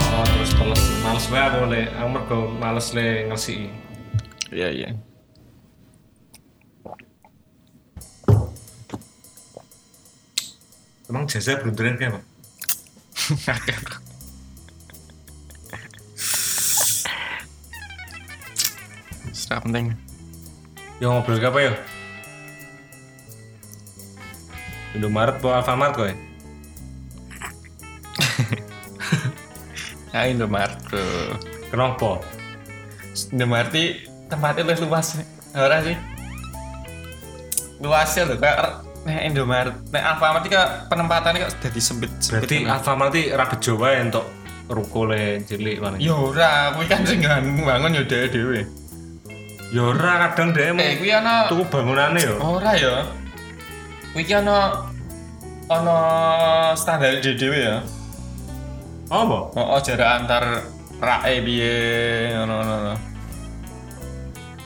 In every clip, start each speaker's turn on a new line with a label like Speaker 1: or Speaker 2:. Speaker 1: Oh, males wae aku le aku mergo males le ngresiki.
Speaker 2: Iya iya.
Speaker 1: Emang jaza blunderan kayak Bang?
Speaker 2: Sudah penting.
Speaker 1: Yo ngobrol ke apa yo? Indomaret po Alfamart kowe?
Speaker 2: Ya Indomaret bro.
Speaker 1: Kenapa?
Speaker 2: Indomaret ini tempatnya lebih luas ora sih? Luasnya loh kayak Nah Indomaret, nah Alfamart ini kayak penempatannya kayak jadi sempit sempit.
Speaker 1: Berarti Alfamart iki ra bejo wae entuk ruko le cilik mana.
Speaker 2: Ya ora, kuwi kan sing bangun ya dhewe.
Speaker 1: Yo ora kadang dhek
Speaker 2: Eh,
Speaker 1: mau
Speaker 2: kuwi ana
Speaker 1: tuku bangunane yo.
Speaker 2: Ora ya. Kuwi iki ana ana standar dhewe ya.
Speaker 1: Apa?
Speaker 2: Oh, oh jarak antar rae piye ngono ngono. ngono.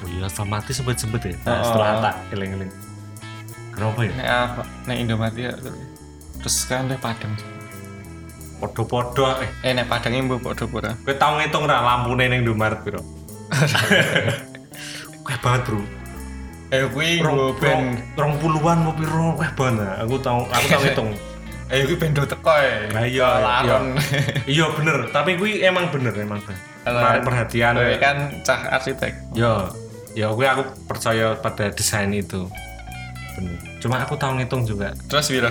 Speaker 1: Oh iya Alfamart iki sempet-sempet ya.
Speaker 2: Oh.
Speaker 1: Nah, setelah tak eling-eling. Kenapa ya?
Speaker 2: Nek apa? Nek Indomaret ya terus kan nek Padang.
Speaker 1: Podo-podo eh
Speaker 2: Eh nek Padange mbok padha apa ora?
Speaker 1: Kowe tau ngitung ra lampune ning Indomaret piro? Kowe banget, Bro.
Speaker 2: Eh kuwi
Speaker 1: Rong, rong,
Speaker 2: nggo ben
Speaker 1: rong Iya. puluhan mau piro kowe banget. Aku tau aku tau ngitung.
Speaker 2: eh kuwi ben do teko e.
Speaker 1: Nah, iya,
Speaker 2: laron.
Speaker 1: iya bener, tapi kuwi emang bener emang bener. Menarik perhatian.
Speaker 2: Kowe kan cah arsitek.
Speaker 1: Yo, yo kuwi aku percaya pada desain itu. Bener. Cuma aku tau ngitung juga.
Speaker 2: Terus piro?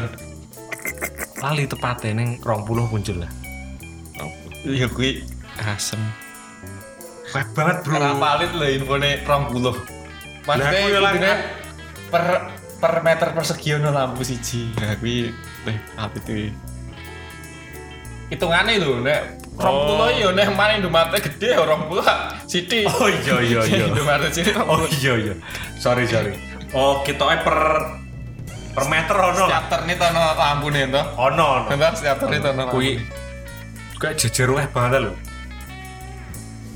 Speaker 1: Lali tepatnya ning 20 muncul lah.
Speaker 2: Ya kuwi asem.
Speaker 1: Kowe banget, Bro.
Speaker 2: Ora valid lho infone 20. Maksudnya
Speaker 1: Lah, aku yo lang-
Speaker 2: kudune per per meter persegi ono lampu siji. Nah kuwi eh apa itu? Hitungane lho nek 20
Speaker 1: Oh.
Speaker 2: yo nek mana Indomaret gede ya 20 sithik.
Speaker 1: Oh iya iya iya.
Speaker 2: Indomaret sithik
Speaker 1: Oh
Speaker 2: 20.
Speaker 1: iya iya. Sorry sorry. Oh kita per per meter ono.
Speaker 2: Setiap ternit ono lampune to.
Speaker 1: Ono ono.
Speaker 2: Entah setiap ternit ono. lampu.
Speaker 1: Kui kayak jejer weh banget lho.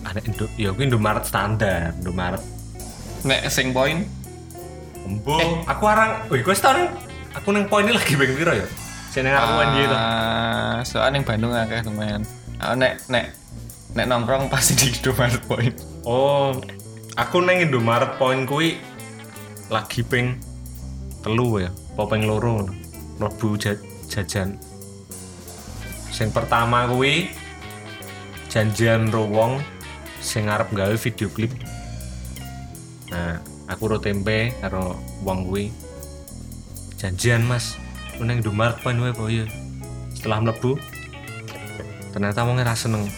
Speaker 1: Ada Indo, ya kui Indomaret standar, Indomaret.
Speaker 2: nek sing poin
Speaker 1: Embo, Eh, aku arang, wih gue setahun, aku neng poin ini lagi beng piro ya. Sini aku kan gitu.
Speaker 2: Ah, Soalnya yang Bandung akeh lumayan. Ah, nek nek nek nongkrong pasti di Indomaret poin.
Speaker 1: Oh, aku neng Indomaret poin kui lagi ping telu ya, apa ping loro ngono. Mlebu ja- jajan. Sing pertama kui janjian ro wong sing arep gawe video klip. Nah, aku ro tempe karo wong kui. Janjian Mas, aku neng Indomaret poin wae apa ya. Setelah mlebu ternyata wong ra seneng.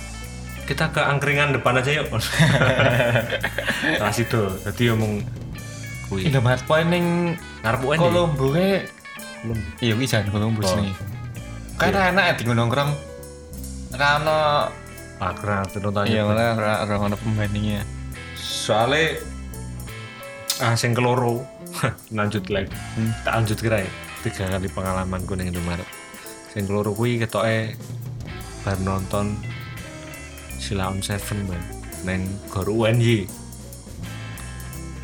Speaker 1: Kita ke angkringan depan aja yuk. Terus itu, tadi omong kui
Speaker 2: Indomaret poin ning
Speaker 1: ngarep UN ya?
Speaker 2: Kolombo e iya kuwi jan Kolombo
Speaker 1: Oh. Iya.
Speaker 2: jenenge. Kan ra enak ya di nongkrong. Ra ono
Speaker 1: Ah, keren, tentu tanya.
Speaker 2: iya ora ora ora ono pembandingnya.
Speaker 1: soalnya ah sing keloro lanjut lagi tak lanjut kira ya tiga kali pengalaman gue neng Indomaret sing keloro kui ketoke bar nonton Silaun Seven bang neng Gor UNY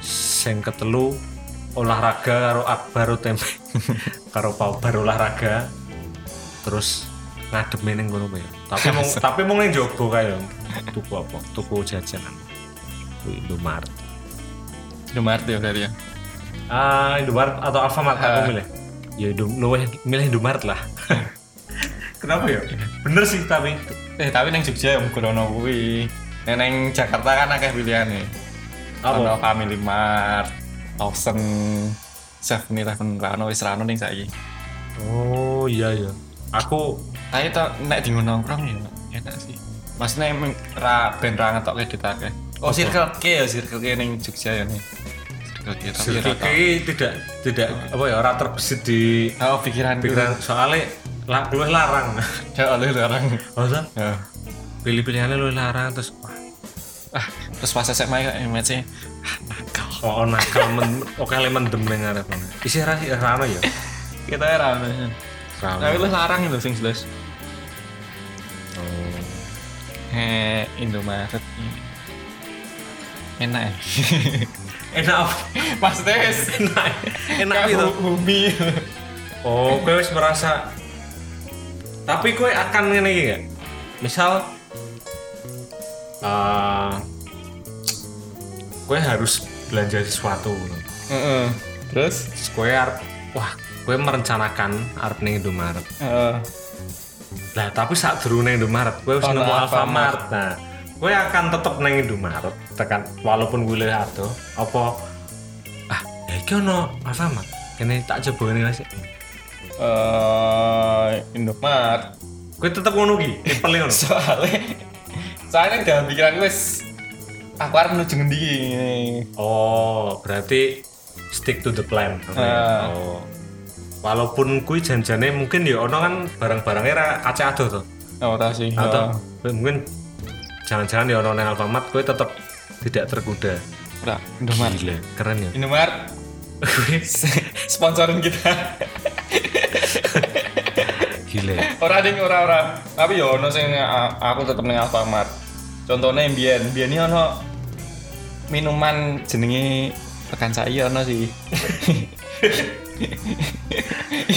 Speaker 1: sing ketelu olahraga karo Akbar tempe karo Paubar olahraga terus ngademin neng kono Bang. tapi mau tapi mau neng Jogo kayak tuku apa tuku jajanan Wih, Indomaret.
Speaker 2: Indomaret ya berarti ya.
Speaker 1: Ah, Indomaret atau Alfamart aku milih. Ya Indom luweh milih Indomaret lah. Kenapa ya? Bener sih tapi.
Speaker 2: Eh tapi ning Jogja ya mung ono kuwi. Nek ning Jakarta kan akeh pilihane.
Speaker 1: Apa?
Speaker 2: Ono Family Mart, Lawson, Seven Eleven, ra ono wis ra ono ning saiki.
Speaker 1: Oh, iya ya. Aku
Speaker 2: Tapi to Nah, nek di nongkrong ya enak sih. Maksudnya emang ra ben ra ngetokke duit akeh. Oh, Circle K ya, Circle K ning Jogja ya nih. Circle K tapi ya ra tau.
Speaker 1: Kiki tidak tidak apa ya ora terbesit di
Speaker 2: Oh, pikiran gue.
Speaker 1: pikiran soalnya lah luwih larang.
Speaker 2: Ya oleh larang.
Speaker 1: Masa
Speaker 2: Ya.
Speaker 1: pilih-pilihannya luwih larang terus wah,
Speaker 2: Ah, terus pas SMA ya image ah nakal.
Speaker 1: oh oh, nakal men oke le mendem ning arep. Isi ra sih rano ya.
Speaker 2: Kita ya ra. ono. Tapi
Speaker 1: Rano.
Speaker 2: lu larang itu sing jelas. Eh, Indomaret. Enak ya.
Speaker 1: Enak apa?
Speaker 2: Mas Des.
Speaker 1: enak. Enak
Speaker 2: Kayak
Speaker 1: gitu.
Speaker 2: Bumi.
Speaker 1: Oh, kowe wis merasa tapi kowe akan ngene iki gak? Misal eh, gue harus belanja sesuatu
Speaker 2: Heeh. Terus?
Speaker 1: Terus gue arep- wah gue merencanakan arep ning Indomaret
Speaker 2: Heeh.
Speaker 1: Nah, tapi saat dulu neng Indomaret, gue harus
Speaker 2: Oh,
Speaker 1: nemu
Speaker 2: nah,
Speaker 1: Alfamart. Nah, gue akan tetap neng Indomaret, tekan walaupun gue lihat tuh, apa ah, ya iki ono Alfamart. Kene tak coba ini sih.
Speaker 2: Eh, Indomart.
Speaker 1: Gue tetap ngono ki, tipele ngono.
Speaker 2: Soalnya soalnya dalam pikiran gue wes, aku harus menuju ngendi ini.
Speaker 1: Oh, berarti stick to the plan. Oke.
Speaker 2: Ah.
Speaker 1: Oh. Walaupun kui janjane mungkin ya ono kan barang-barangnya ra aceh ado tuh.
Speaker 2: Oh, Ora sih.
Speaker 1: Atau
Speaker 2: Heeh.
Speaker 1: mungkin jangan-jangan ya ono neng Alfamart, gue tetap tidak tergoda.
Speaker 2: Ora, Indomart.
Speaker 1: Gila, keren ya.
Speaker 2: Indomart
Speaker 1: Gue
Speaker 2: sponsorin kita.
Speaker 1: Gila.
Speaker 2: ora ding ora ora. Tapi yo ono sing a- aku tetep ning Alfamart. Contohnya mbiyen, mbiyen ini ono minuman jenenge rekan saya ono sih.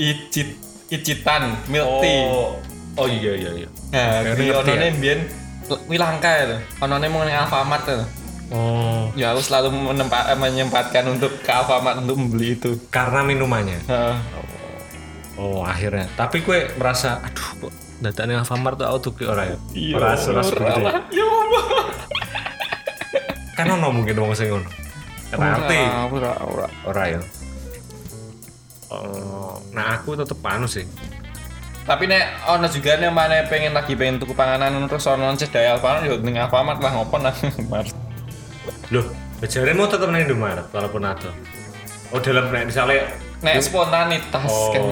Speaker 2: Icit icitan milk tea.
Speaker 1: Oh, oh iya iya iya.
Speaker 2: Nah,
Speaker 1: Kayaknya
Speaker 2: di
Speaker 1: ngerti
Speaker 2: onone
Speaker 1: ya?
Speaker 2: mbiyen kuwi langka ya. Onone mung ning Alfamart ya.
Speaker 1: Oh,
Speaker 2: Ya aku selalu menempa- eh, menyempatkan untuk ke Alfamart untuk membeli itu.
Speaker 1: karena minumannya.
Speaker 2: Heeh.
Speaker 1: Oh, akhirnya. Tapi gue merasa aduh kok datangnya Alfamart tuh auto ki ora ya.
Speaker 2: Iya,
Speaker 1: Ora ora seperti.
Speaker 2: ora. Ya Allah.
Speaker 1: Kan ono mungkin wong sing ngono. Ngerti.
Speaker 2: Ora, ora.
Speaker 1: Ora ya. Oh, nah aku tetep anu sih.
Speaker 2: Tapi nek ono juga nek mana pengen lagi pengen tuku panganan terus ono cedai Alfamart yo ning Alfamart lah ngopo nang Alfamart.
Speaker 1: Loh, bejaremu tetep nang Indomaret walaupun ada. Oh, dalam nek misalnya
Speaker 2: Nek spontanitas
Speaker 1: Oh.
Speaker 2: kan.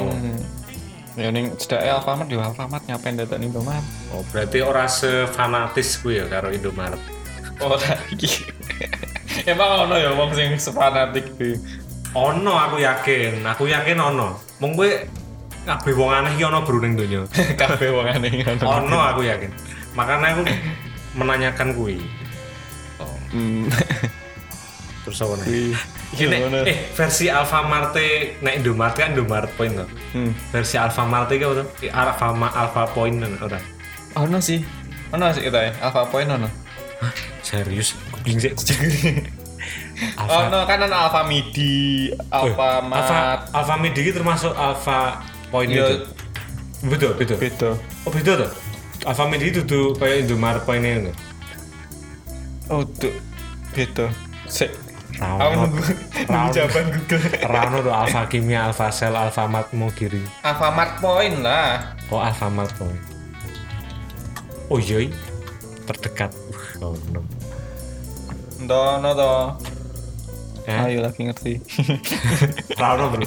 Speaker 2: Ya ning cedai Alfamart yo Alfamart ngapain datang Indomaret?
Speaker 1: oh berarti ora sefanatis gue ya karo Indomaret.
Speaker 2: Ora iki. Oh, Emang ono ya wong sing fanatik iki.
Speaker 1: Ono aku yakin, aku yakin ono. Mung gue kabeh wong aneh ki ono bro ning donya.
Speaker 2: kabeh wong aneh ngono.
Speaker 1: ono aku yakin makanya aku menanyakan kui
Speaker 2: Hmm.
Speaker 1: terus apa
Speaker 2: Iya,
Speaker 1: nih Ini, eh versi Alfamart nek Indomart kan Indomart point tuh
Speaker 2: Hmm.
Speaker 1: versi Alfamart itu apa tuh Eh, Alfama Alfa point kan orang
Speaker 2: Ono sih. Ono sih kita ya. Alpha Point ono.
Speaker 1: serius googling sih Alfa
Speaker 2: Ono kan ono Alpha Midi, Alpha
Speaker 1: Alfa
Speaker 2: Mat.
Speaker 1: Alfa Midi itu termasuk Alfa point
Speaker 2: Iya.
Speaker 1: itu betul betul
Speaker 2: Beda.
Speaker 1: oh beda tuh Alfa Midi itu tuh kayak Indomart point ini
Speaker 2: Oh, tuh. Beda. Sik.
Speaker 1: Rano.
Speaker 2: Aku nunggu nunggu jawaban Google.
Speaker 1: Rano tuh Alfa Kimia Alfa Sel Alfa Mat Mogiri
Speaker 2: Alpha Mart Point lah.
Speaker 1: Oh Alfamart Boy. Oh yoi, terdekat. Oh no.
Speaker 2: Ndo no to.
Speaker 1: Eh,
Speaker 2: Ayo lagi ngerti.
Speaker 1: Rano bro.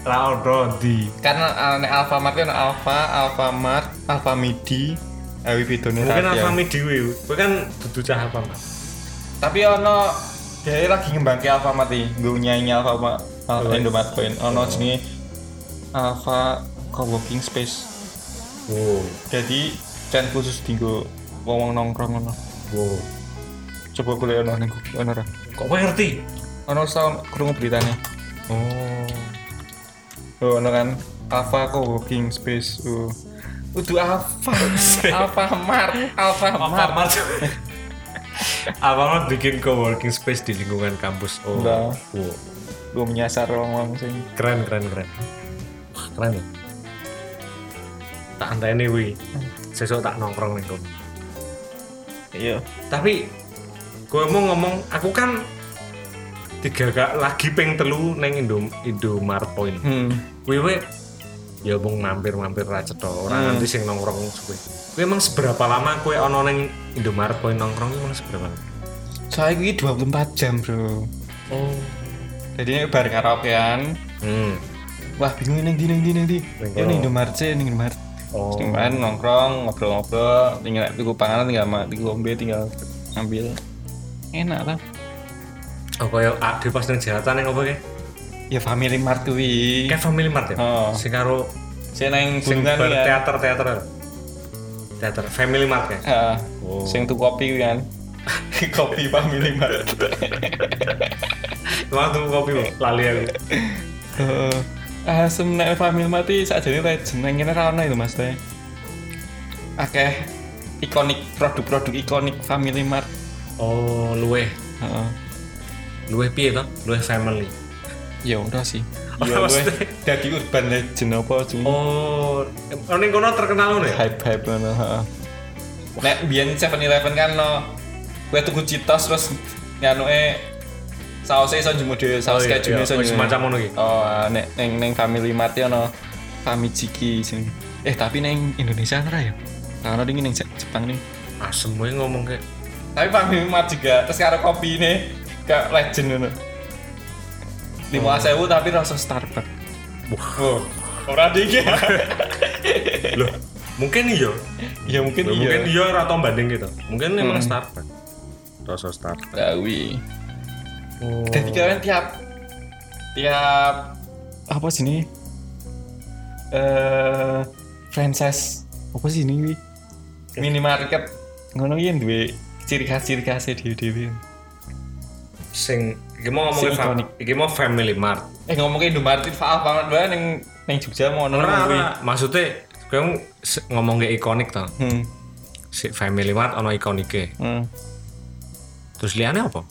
Speaker 1: Rano di.
Speaker 2: Karena Kan, nek Alpha Mart kan Alpha, Alpha Mart, Alpha Midi. Awi bidone
Speaker 1: Mungkin
Speaker 2: tadi ya.
Speaker 1: Alfamart Dewi. Gue kan butuh cah Alfamart.
Speaker 2: tapi ono dia lagi ngembangke Alfamart iki nggo nyanyi Alfamart
Speaker 1: Oh.
Speaker 2: Alfa Indomaret Point ono jenenge Alfa Coworking Space
Speaker 1: Wow,
Speaker 2: jadi dan khusus dinggo wong-wong nongkrong ngono
Speaker 1: wow.
Speaker 2: coba golek ono ning Google ono ora
Speaker 1: Kok gue ngerti?
Speaker 2: ono sound krungu beritane
Speaker 1: Oh.
Speaker 2: oh ono kan Alfa Coworking Space oh Udah Alfa, Alfa Mart, Alfa Mart.
Speaker 1: Alfamart. Alfamart bikin co-working space di lingkungan kampus. Oh,
Speaker 2: Nah.
Speaker 1: wow.
Speaker 2: Gue menyasar orang-orang sing.
Speaker 1: keren keren keren Wah, keren ya tak antai nih wi sesuk tak nongkrong nih kono.
Speaker 2: Iya.
Speaker 1: tapi gue mau ngomong aku kan tiga gak lagi peng telu neng Indo Indomaret Point
Speaker 2: Hmm.
Speaker 1: wiwe ya bung mampir mampir aja toh orang
Speaker 2: Hmm.
Speaker 1: nanti sing nongkrong suwe gue emang seberapa lama gue ono neng Indomaret Point nongkrong emang seberapa lama
Speaker 2: Saya ini 24 jam bro.
Speaker 1: oh
Speaker 2: Jadi bar karaokean,
Speaker 1: hmm
Speaker 2: wah bingung ini neng di neng di
Speaker 1: Neng
Speaker 2: ya
Speaker 1: kono.
Speaker 2: neng Indomaret sih neng Indomaret
Speaker 1: oh
Speaker 2: Terus kemarin nongkrong ngobrol-ngobrol tinggal tuku panganan tinggal ma- tuku ombe tinggal ambil enak lah
Speaker 1: oh kayak ah, di pas neng jalanan neng apa ya
Speaker 2: ya family mart kuwi
Speaker 1: kayak family mart ya
Speaker 2: Oh.
Speaker 1: sing karo
Speaker 2: sing neng
Speaker 1: sing
Speaker 2: bundan
Speaker 1: bar
Speaker 2: kuwi kan
Speaker 1: teater teater teater family mart ya
Speaker 2: Ah,
Speaker 1: Oh.
Speaker 2: sing tuku kopi kuwi kan kopi family mart
Speaker 1: waktu kopi Bang. lali aku
Speaker 2: Heeh. ah semenek family mart iki sakjane legend nang kene ra ono itu Mas Teh akeh ikonik produk-produk ikonik Family Mart.
Speaker 1: Oh, luweh,
Speaker 2: Heeh.
Speaker 1: luweh piye to? Luweh family.
Speaker 2: Ya ora sih.
Speaker 1: Ora
Speaker 2: Ya weh,
Speaker 1: mesti.
Speaker 2: dadi urban legend apa cuma
Speaker 1: Oh, oh ning kono terkenal ngono ya?
Speaker 2: hype-hype ngono, heeh. Nek biyen 7-Eleven kan no kue tuku Cheetos terus nyanuke sausnya iso njemur dhewe,
Speaker 1: Oh,
Speaker 2: saus
Speaker 1: iya,
Speaker 2: kejunya
Speaker 1: iya.
Speaker 2: iso
Speaker 1: Oh,
Speaker 2: njemur.
Speaker 1: semacam ngono iki.
Speaker 2: Oh, nek neng neng Family Mart ya no Famijiki sing. Eh, tapi neng Indonesia ora ya? Nah, ono dingin neng Je- Jepang nih.
Speaker 1: Asem wae ngomong kayak
Speaker 2: tapi Family Mart juga terus karo kopi ini kayak legend ngono lima sewu tapi rasa Starbucks wah ora dingin
Speaker 1: Oh. loh, mungkin iya.
Speaker 2: ya mungkin
Speaker 1: Loh, Mungkin
Speaker 2: iya
Speaker 1: iya ora tau banding gitu. Mungkin memang Starbucks. Rasa Starbucks.
Speaker 2: gawi
Speaker 1: Oh.
Speaker 2: jadi kalian tiap tiap apa sih ini eh franchise apa sih ini wi? minimarket ngono iki duwe ciri khas ciri khasnya di dewi
Speaker 1: sing iki mau ngomongin
Speaker 2: Sing
Speaker 1: fa-
Speaker 2: ikonik.
Speaker 1: iki mau Family Mart.
Speaker 2: eh ngomongin Indomaret faal banget doang neng neng Jogja mau neng
Speaker 1: Ora,
Speaker 2: kuwi.
Speaker 1: ora. maksudnya kamu ngomong kayak ikonik tau
Speaker 2: hmm.
Speaker 1: si Family Mart ono ikonike
Speaker 2: hmm.
Speaker 1: terus liane apa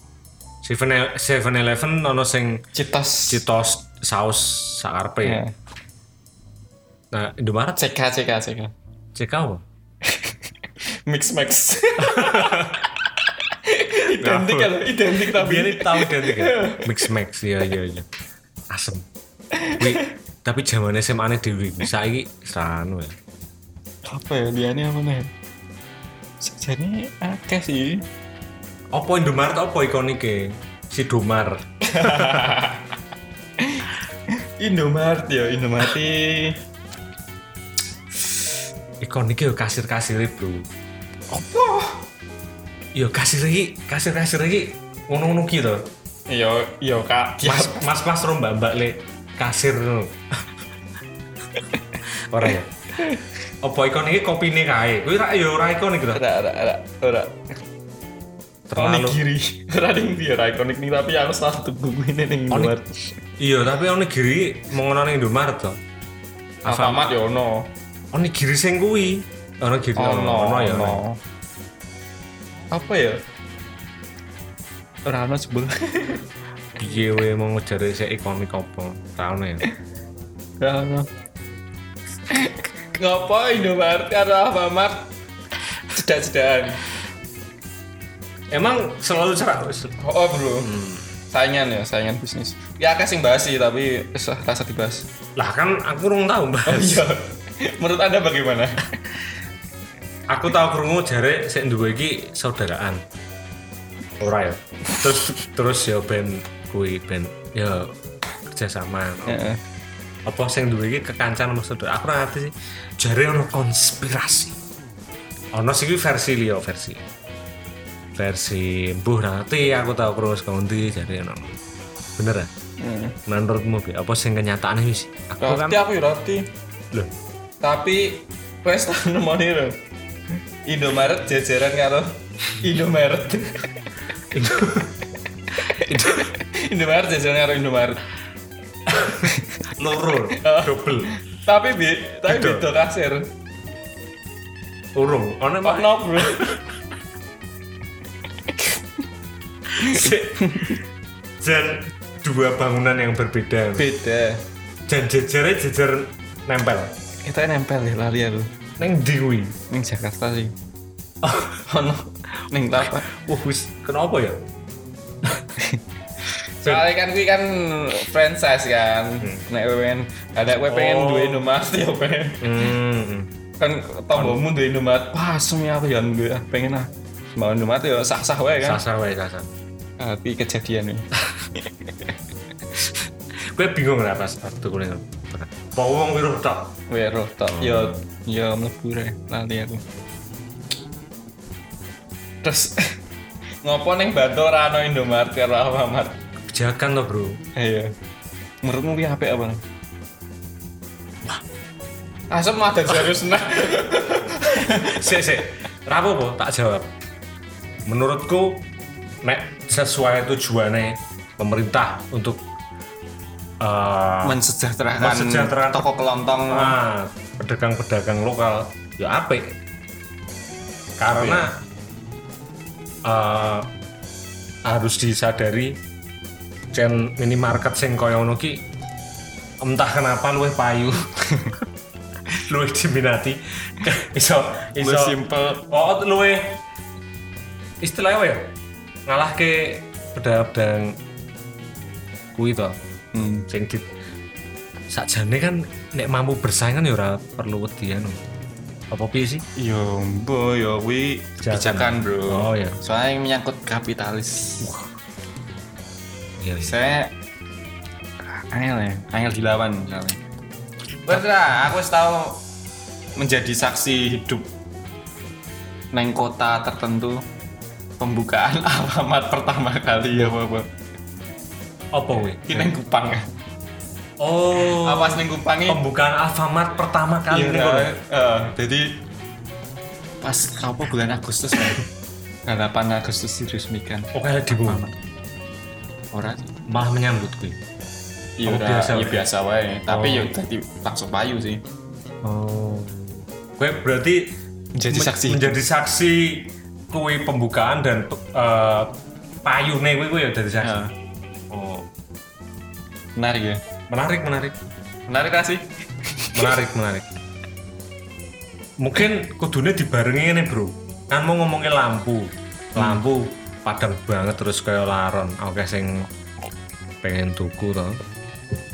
Speaker 1: Seven Seven Eleven ono sing
Speaker 2: Citos.
Speaker 1: Citos saus sakarpe
Speaker 2: Ya.
Speaker 1: nah Indomaret
Speaker 2: CK CK CK.
Speaker 1: CK apa
Speaker 2: Mix Max. identik kan, identik tapi
Speaker 1: biar tahu kan mix max ya ya ya asem Wi, tapi zaman SMA nih dewi saiki sanu ya
Speaker 2: apa ya dia ini apa nih? Sejane akeh sih.
Speaker 1: apa Indomaret apa ikonike si Domar
Speaker 2: Indomaret ya, Indomaret.
Speaker 1: ikonike yo kasir kasir bro
Speaker 2: Apa?
Speaker 1: yo kasir lagi kasir kasir lagi ngono ngono gitu
Speaker 2: Yo yo Iya, Kak.
Speaker 1: mas mas mas rom mbak mbak le kasir no. ora ya apa ikon ini kopi ini kae kuwi ra yo ora ikon iki to
Speaker 2: Ora ora ora ora.
Speaker 1: terlalu
Speaker 2: Onigiri. Ora ning dia ora ikonik ning tapi aku selalu tunggu ini ning Indomaret.
Speaker 1: iya tapi onigiri mengono ning Indomaret to
Speaker 2: Alfamart ya ono.
Speaker 1: onigiri sing kuwi onigiri
Speaker 2: Oh,
Speaker 1: ono ono ya ono.
Speaker 2: Apa ya? Ora ono sebel.
Speaker 1: piye we mau ngejari sik ikonik apa ra ono ya
Speaker 2: Rano. Ngapain Indomaret karo Alfamart? Cedak-cedakan.
Speaker 1: emang selalu cerak wis.
Speaker 2: Oh, bro. Saingan ya, saingan bisnis. Ya akeh sing bahas sih, tapi usah rasa dibahas.
Speaker 1: lah kan aku rung tau mbak
Speaker 2: iya. Menurut Anda bagaimana?
Speaker 1: aku tau krungu jare sik duwe iki saudaraan. Ora ya. Terus terus ya ben kuwi ben ya kerjasama.
Speaker 2: Heeh.
Speaker 1: Apa sing duwe iki kekancan sama saudara. Aku ora ngerti sih. Jare ono konspirasi. Ono sing kuwi versi liya versi. Versi mbuh ra ngerti aku tau krungu saka ndi jare ono. Bener ya?
Speaker 2: Heeh.
Speaker 1: Menurutmu Bi, apa sing kenyataane wis? Aku kan
Speaker 2: Roti aku ya roti.
Speaker 1: lho,
Speaker 2: Tapi wes tak nemoni lho. Indomaret jajaran karo Indomaret. Indomaret jajaran ya, karo Indomaret.
Speaker 1: loro double
Speaker 2: Tapi bi, tapi
Speaker 1: Beda.
Speaker 2: beda kasir.
Speaker 1: urung ono
Speaker 2: Pak no bro.
Speaker 1: Sik. dan dua bangunan yang berbeda
Speaker 2: Beda.
Speaker 1: dan jejernya jejer nempel
Speaker 2: Kita nempel ya lali ya lu.
Speaker 1: neng diwi
Speaker 2: Neng Jakarta sih. Oh no. Neng apa?
Speaker 1: wah Uh, wis kenapa ya
Speaker 2: Soalnya kan gue kan franchise kan. Nek gue pengen ada gue pengen
Speaker 1: Hmm. Oh.
Speaker 2: duwe Indomaret ya pengen.
Speaker 1: hmm.
Speaker 2: Kan tombomu duwe Indomaret. Wah, semi aku ya duwe ah, pengen ah. Mau Indomaret ya sah-sah wae kan.
Speaker 1: sasar wae sasar
Speaker 2: Tapi kejadian nih.
Speaker 1: gue bingung lah pas waktu kuliah pawong wiruh tok
Speaker 2: Gue rotok. Yo yo Ya, mlebu re lali aku. Terus ngopo neng Bantul ora ono Indomaret karo Alfamart.
Speaker 1: kebijakan loh bro
Speaker 2: Iya. Menurutmu ki apik apa? Wah. Asep mah ada serius nah.
Speaker 1: sik sik rapopo tak jawab menurutku nek sesuai tujuannya pemerintah untuk eh,
Speaker 2: Mensejahterakan, Ah,
Speaker 1: Mensejahterakan.
Speaker 2: toko kelontong.
Speaker 1: Ah, pedagang-pedagang lokal ya apik karena eh, harus disadari chain minimarket sing kaya ngono ki entah kenapa luwih payu luwih diminati iso iso
Speaker 2: Lu simple
Speaker 1: oh luwih istilahnya apa ya ngalah ke bedang-bedang kuwi to
Speaker 2: hmm.
Speaker 1: sing di sakjane kan nek mampu bersaing kan ya ora perlu wedi anu apa piye sih
Speaker 2: Yo, bo, yo, Ya, wi kebijakan bro.
Speaker 1: Oh, iya.
Speaker 2: Soalnya yang menyangkut kapitalis.
Speaker 1: iya iya.
Speaker 2: Saya angel ya, angel dilawan misalnya. Wes lah, aku wis tahu menjadi saksi hidup neng kota tertentu pembukaan alamat pertama kali ya bapak.
Speaker 1: apa kuwi
Speaker 2: Ini neng Kupang ya.
Speaker 1: oh
Speaker 2: Awas neng Kupang ini.
Speaker 1: pembukaan Alfamart pertama kali
Speaker 2: Iya,
Speaker 1: nih kono.
Speaker 2: eh, jadi pas apa bulan Agustus ya. 8 Agustus diresmikan.
Speaker 1: oke ada di bawah
Speaker 2: Orang
Speaker 1: malah menyambut kuwi
Speaker 2: Iya
Speaker 1: Oh,
Speaker 2: udah,
Speaker 1: biasa
Speaker 2: iya
Speaker 1: wae.
Speaker 2: biasa wae. Tapi
Speaker 1: Oh.
Speaker 2: ya tadi langsung payu sih.
Speaker 1: oh kue berarti
Speaker 2: Menjadi
Speaker 1: men-
Speaker 2: saksi.
Speaker 1: menjadi saksi kue pembukaan dan eh, payune kue kue ya dari saksi
Speaker 2: Ya.
Speaker 1: oh
Speaker 2: Menarik ya.
Speaker 1: menarik menarik
Speaker 2: Menarik gak sih?
Speaker 1: menarik menarik mungkin kudunya dibarengi ini bro kamu ngomongin lampu lampu padang banget terus kayak laron oke sing pengen tuku toh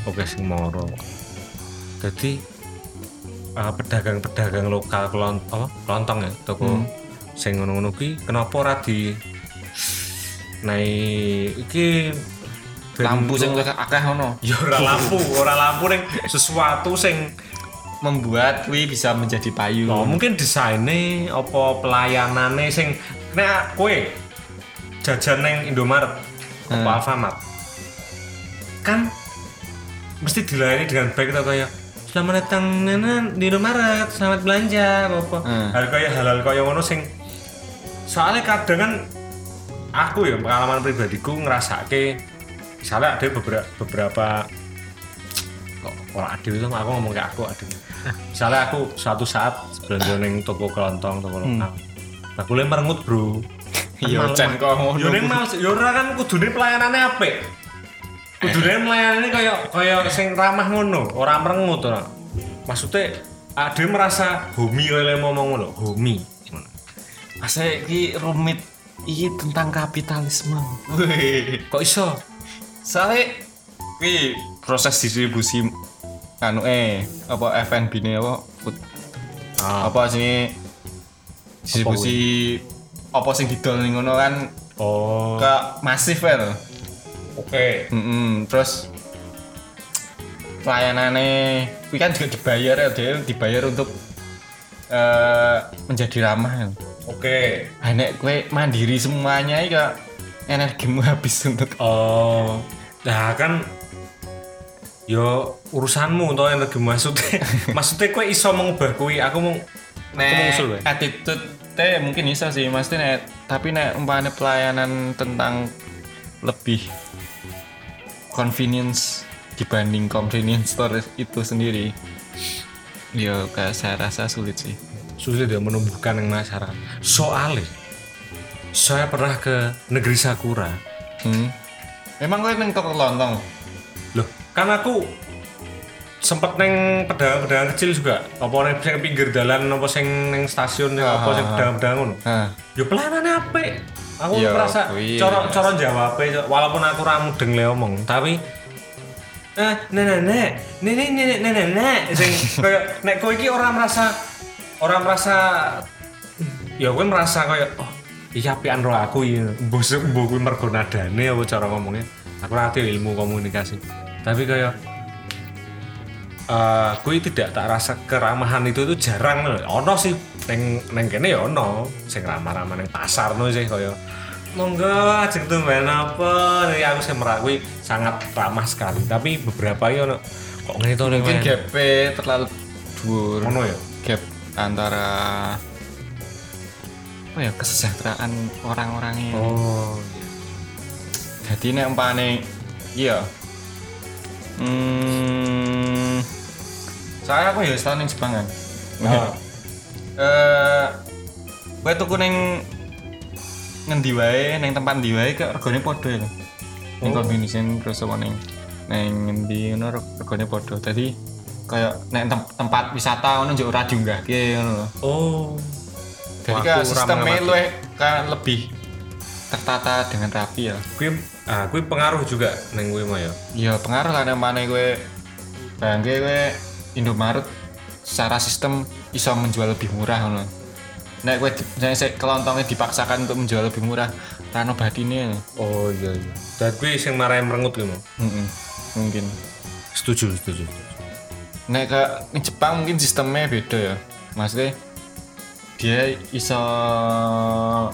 Speaker 1: oke sing moro jadi eh, pedagang-pedagang lokal kelon apa kelontong ya toko
Speaker 2: Hmm.
Speaker 1: sing ngono-ngono ki kenapa ora di naik iki ben-
Speaker 2: Lampu sing luwih akeh ono.
Speaker 1: ya ora lampu ora lampu ning sesuatu sing
Speaker 2: Membuat wi bisa menjadi payu.
Speaker 1: Oh, mungkin desainnya apa pelayanannya sing nek kue jajan neng Indomaret apa
Speaker 2: Hmm.
Speaker 1: Alfamart kan mesti dilayani dengan baik atau kayak selamat datang nana di Indomaret selamat belanja apa apa
Speaker 2: Hmm.
Speaker 1: hal kayak halal kayak ngono sing soalnya kadang kan aku ya pengalaman pribadiku ngerasa ke misalnya ada beberapa beberapa kok orang adil itu aku ngomong kayak aku adil misalnya aku suatu saat belanja neng toko kelontong toko lokal aku lempar merengut bro
Speaker 2: Iya,
Speaker 1: Malah-
Speaker 2: Chan, kok ngono.
Speaker 1: yo neng Ya mas yo ora kan kudune pelayanannya apik kudune pelayanannya kaya kaya sing ramah ngono orang merengut ora maksudnya ada yang merasa homi oleh ngomong ngono homi ngono.
Speaker 2: Masa Ah, iki rumit iki tentang kapitalisme.
Speaker 1: kok iso
Speaker 2: Soalnya iki proses distribusi anu eh apa FNB ne apa food
Speaker 1: Ah,
Speaker 2: apa sini distribusi apa sing didol ning ngono kan
Speaker 1: oh
Speaker 2: ke masif ya tuh.
Speaker 1: oke
Speaker 2: Mm-mm, terus pelayanannya kuwi kan juga dibayar ya dia dibayar untuk eh, menjadi ramah ya.
Speaker 1: oke
Speaker 2: Ah, nek kue mandiri semuanya ya energimu habis untuk
Speaker 1: Oh, nah kan yo urusanmu toh yang lagi maksudnya maksudnya kue iso mengubah kue aku mau aku mau usul wae.
Speaker 2: attitude teh mungkin bisa sih mesti nek tapi nek umpamane pelayanan tentang lebih convenience dibanding convenience store itu sendiri ya kayak saya rasa sulit sih
Speaker 1: sulit ya menumbuhkan yang masyarakat soalnya saya pernah ke negeri sakura
Speaker 2: hmm. emang gue neng toko lontong
Speaker 1: loh kan aku sempet neng pedagang-pedagang kecil juga apa neng sing pinggir jalan apa sing neng stasiun neng apa sing pedagang-pedagang ngono.
Speaker 2: Hah.
Speaker 1: yo pelayanannya apa aku
Speaker 2: Yo,
Speaker 1: merasa
Speaker 2: kuwi.
Speaker 1: coro-coro jawabnya walaupun aku ramu deng le omong tapi eh nenek nenek nenek nenek nenek nenek sing kayak nek kowe iki orang merasa orang merasa ya kowe merasa kayak oh iki apian roh aku ya mbok mbok kuwi mergo nadane apa cara ngomongnya aku ora ngerti ilmu komunikasi tapi kayak eh kui tidak tak rasa keramahan itu itu jarang lho. ono sih neng neng kene ya ono sing ramah-ramah neng pasar no sih kaya monggo ajeng tumben apa nih aku sih merakui sangat ramah sekali tapi beberapa ya ono kok ngene to
Speaker 2: mungkin
Speaker 1: neng
Speaker 2: gap e terlalu dhuwur
Speaker 1: ono ya
Speaker 2: gap antara apa ya kesejahteraan orang-orangnya
Speaker 1: oh
Speaker 2: jadi nek umpane iya hmm Oh.
Speaker 1: Nah,
Speaker 2: saya aku ya setahun yang Jepang kan
Speaker 1: Ah.
Speaker 2: eh Kowe tuku ning ngendi wae, ning tempat ndi wae kok regane padha ya. Ning
Speaker 1: Oh.
Speaker 2: convenience ning Krosoma ning ning ngendi ngono reg- regane padha. Dadi kaya nek tem- tempat wisata ngono njuk ora diunggahke ngono lho.
Speaker 1: Oh.
Speaker 2: Jadi
Speaker 1: Wah,
Speaker 2: kayak
Speaker 1: aku ora
Speaker 2: sistemnya
Speaker 1: mengamati.
Speaker 2: luwih kayak lebih tertata dengan rapi ya.
Speaker 1: Kui, ah, kui pengaruh juga neng kui mah ya.
Speaker 2: Iya pengaruh lah yang mana gue bangke gue Indomaret secara sistem iso menjual lebih murah ngono. Nek gue di- misalnya saya kelontongnya dipaksakan untuk menjual lebih murah, rano badine lho.
Speaker 1: Oh iya iya. Dan kui sing marai merengut kui mau.
Speaker 2: Mm-mm, mungkin.
Speaker 1: Setuju setuju.
Speaker 2: Nek ke ning Jepang mungkin sistemnya beda ya. Maksudnya dia iso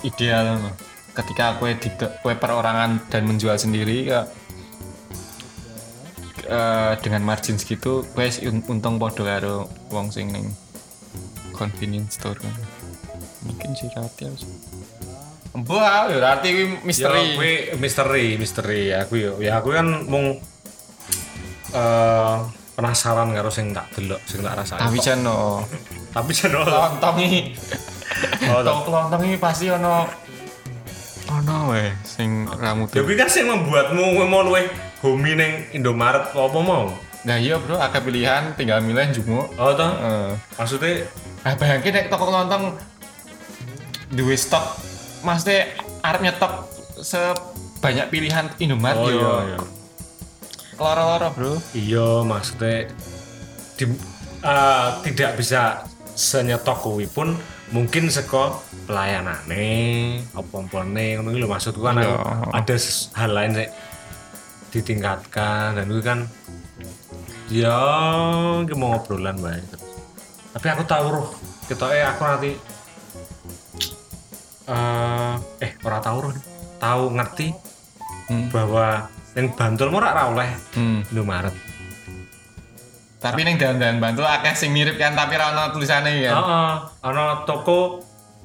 Speaker 2: ideal ngono. Ketika kue di kue perorangan dan menjual sendiri ya, eh, dengan margin segitu kue sih un- untung podo karo wong sing ning convenience store kan. Mungkin sih rati harus. Mbah, ya rati kuwi misteri.
Speaker 1: Ya, kui misteri misteri ya kui ya. Ya E, aku kan mung eh, penasaran karo sing tak delok, sing tak rasain.
Speaker 2: Tapi oh. jan no.
Speaker 1: Tapi channel.
Speaker 2: Kelontongi.
Speaker 1: Oh, tak.
Speaker 2: Tau kelontong ini pasti ono ono weh sing rambut.
Speaker 1: Ya kui kan sing membuatmu kui mau luwe homi neng Indomaret apa mau?
Speaker 2: Nah iya bro, akeh pilihan tinggal milih jumo.
Speaker 1: Oh toh.
Speaker 2: Heeh.
Speaker 1: Maksudnya
Speaker 2: Nah bayangke nek toko kelontong duwe stok maksudnya arep nyetok sebanyak pilihan Indomaret
Speaker 1: oh
Speaker 2: yo.
Speaker 1: iya iya.
Speaker 2: Loro-loro bro.
Speaker 1: Iya maksudnya di- eh, tidak bisa senyetok kuwi pun mungkin seko pelayanane apa-apane ngono iki lho maksudku kan
Speaker 2: Iya.
Speaker 1: aku- ada ses- hal lain sih ditingkatkan dan itu kan ya iki mau ngobrolan bae tapi aku tahu roh ketoke aku nanti eh eh ora tahu roh tahu ngerti
Speaker 2: Hmm.
Speaker 1: bahwa yang bantul ora ora oleh
Speaker 2: Hmm.
Speaker 1: Indomaret
Speaker 2: Tapi ning dalan-dalan Bantul akeh sing mirip kan tapi ra ono tulisane ya.
Speaker 1: Heeh, ana toko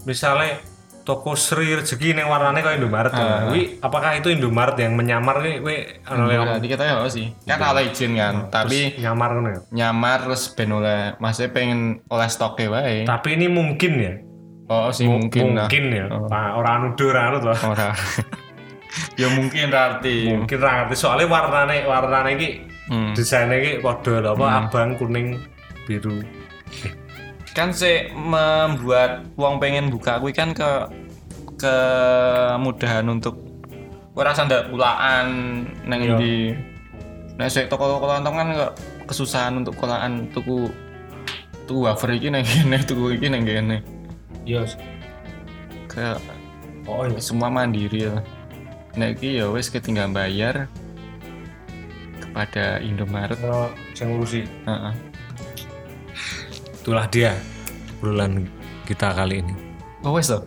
Speaker 1: misalnya toko Sri Rezeki yang warnanya kayak Indomaret.
Speaker 2: Heeh.
Speaker 1: Wi, apakah itu Indomaret yang menyamar nih? Wi, ana leo
Speaker 2: Berarti kita ya sih. Kan oleh izin kan, tapi
Speaker 1: terus nyamar ngono ya.
Speaker 2: nyamar terus ben oleh maksudnya pengen oleh stoknya wae.
Speaker 1: Tapi ini mungkin ya.
Speaker 2: Oh sih mungkin lah.
Speaker 1: mungkin ya. Nah, orang nuduh orang anu toh.
Speaker 2: Ora. ya mungkin berarti.
Speaker 1: Mungkin ra ngerti soalnya warnane warnane iki
Speaker 2: Iya. Hmm.
Speaker 1: desainnya iki padha lho, apa abang, kuning, biru.
Speaker 2: Kan sih membuat wong pengen buka kuwi kan ke kemudahan untuk ora sandak pulaan nang
Speaker 1: Iya.
Speaker 2: di nek sik toko kelontong kan kok kesusahan untuk kolaan tuku tuku wafer iki nang kene tuku iki nang kene
Speaker 1: Iya.
Speaker 2: kayak
Speaker 1: Oh iya.
Speaker 2: semua mandiri lah nek iki ya wis ketinggal bayar kepada Indomaret
Speaker 1: Ono sing ngurusi.
Speaker 2: Heeh.
Speaker 1: Itulah dia bulan kita kali ini.
Speaker 2: Oh wis to.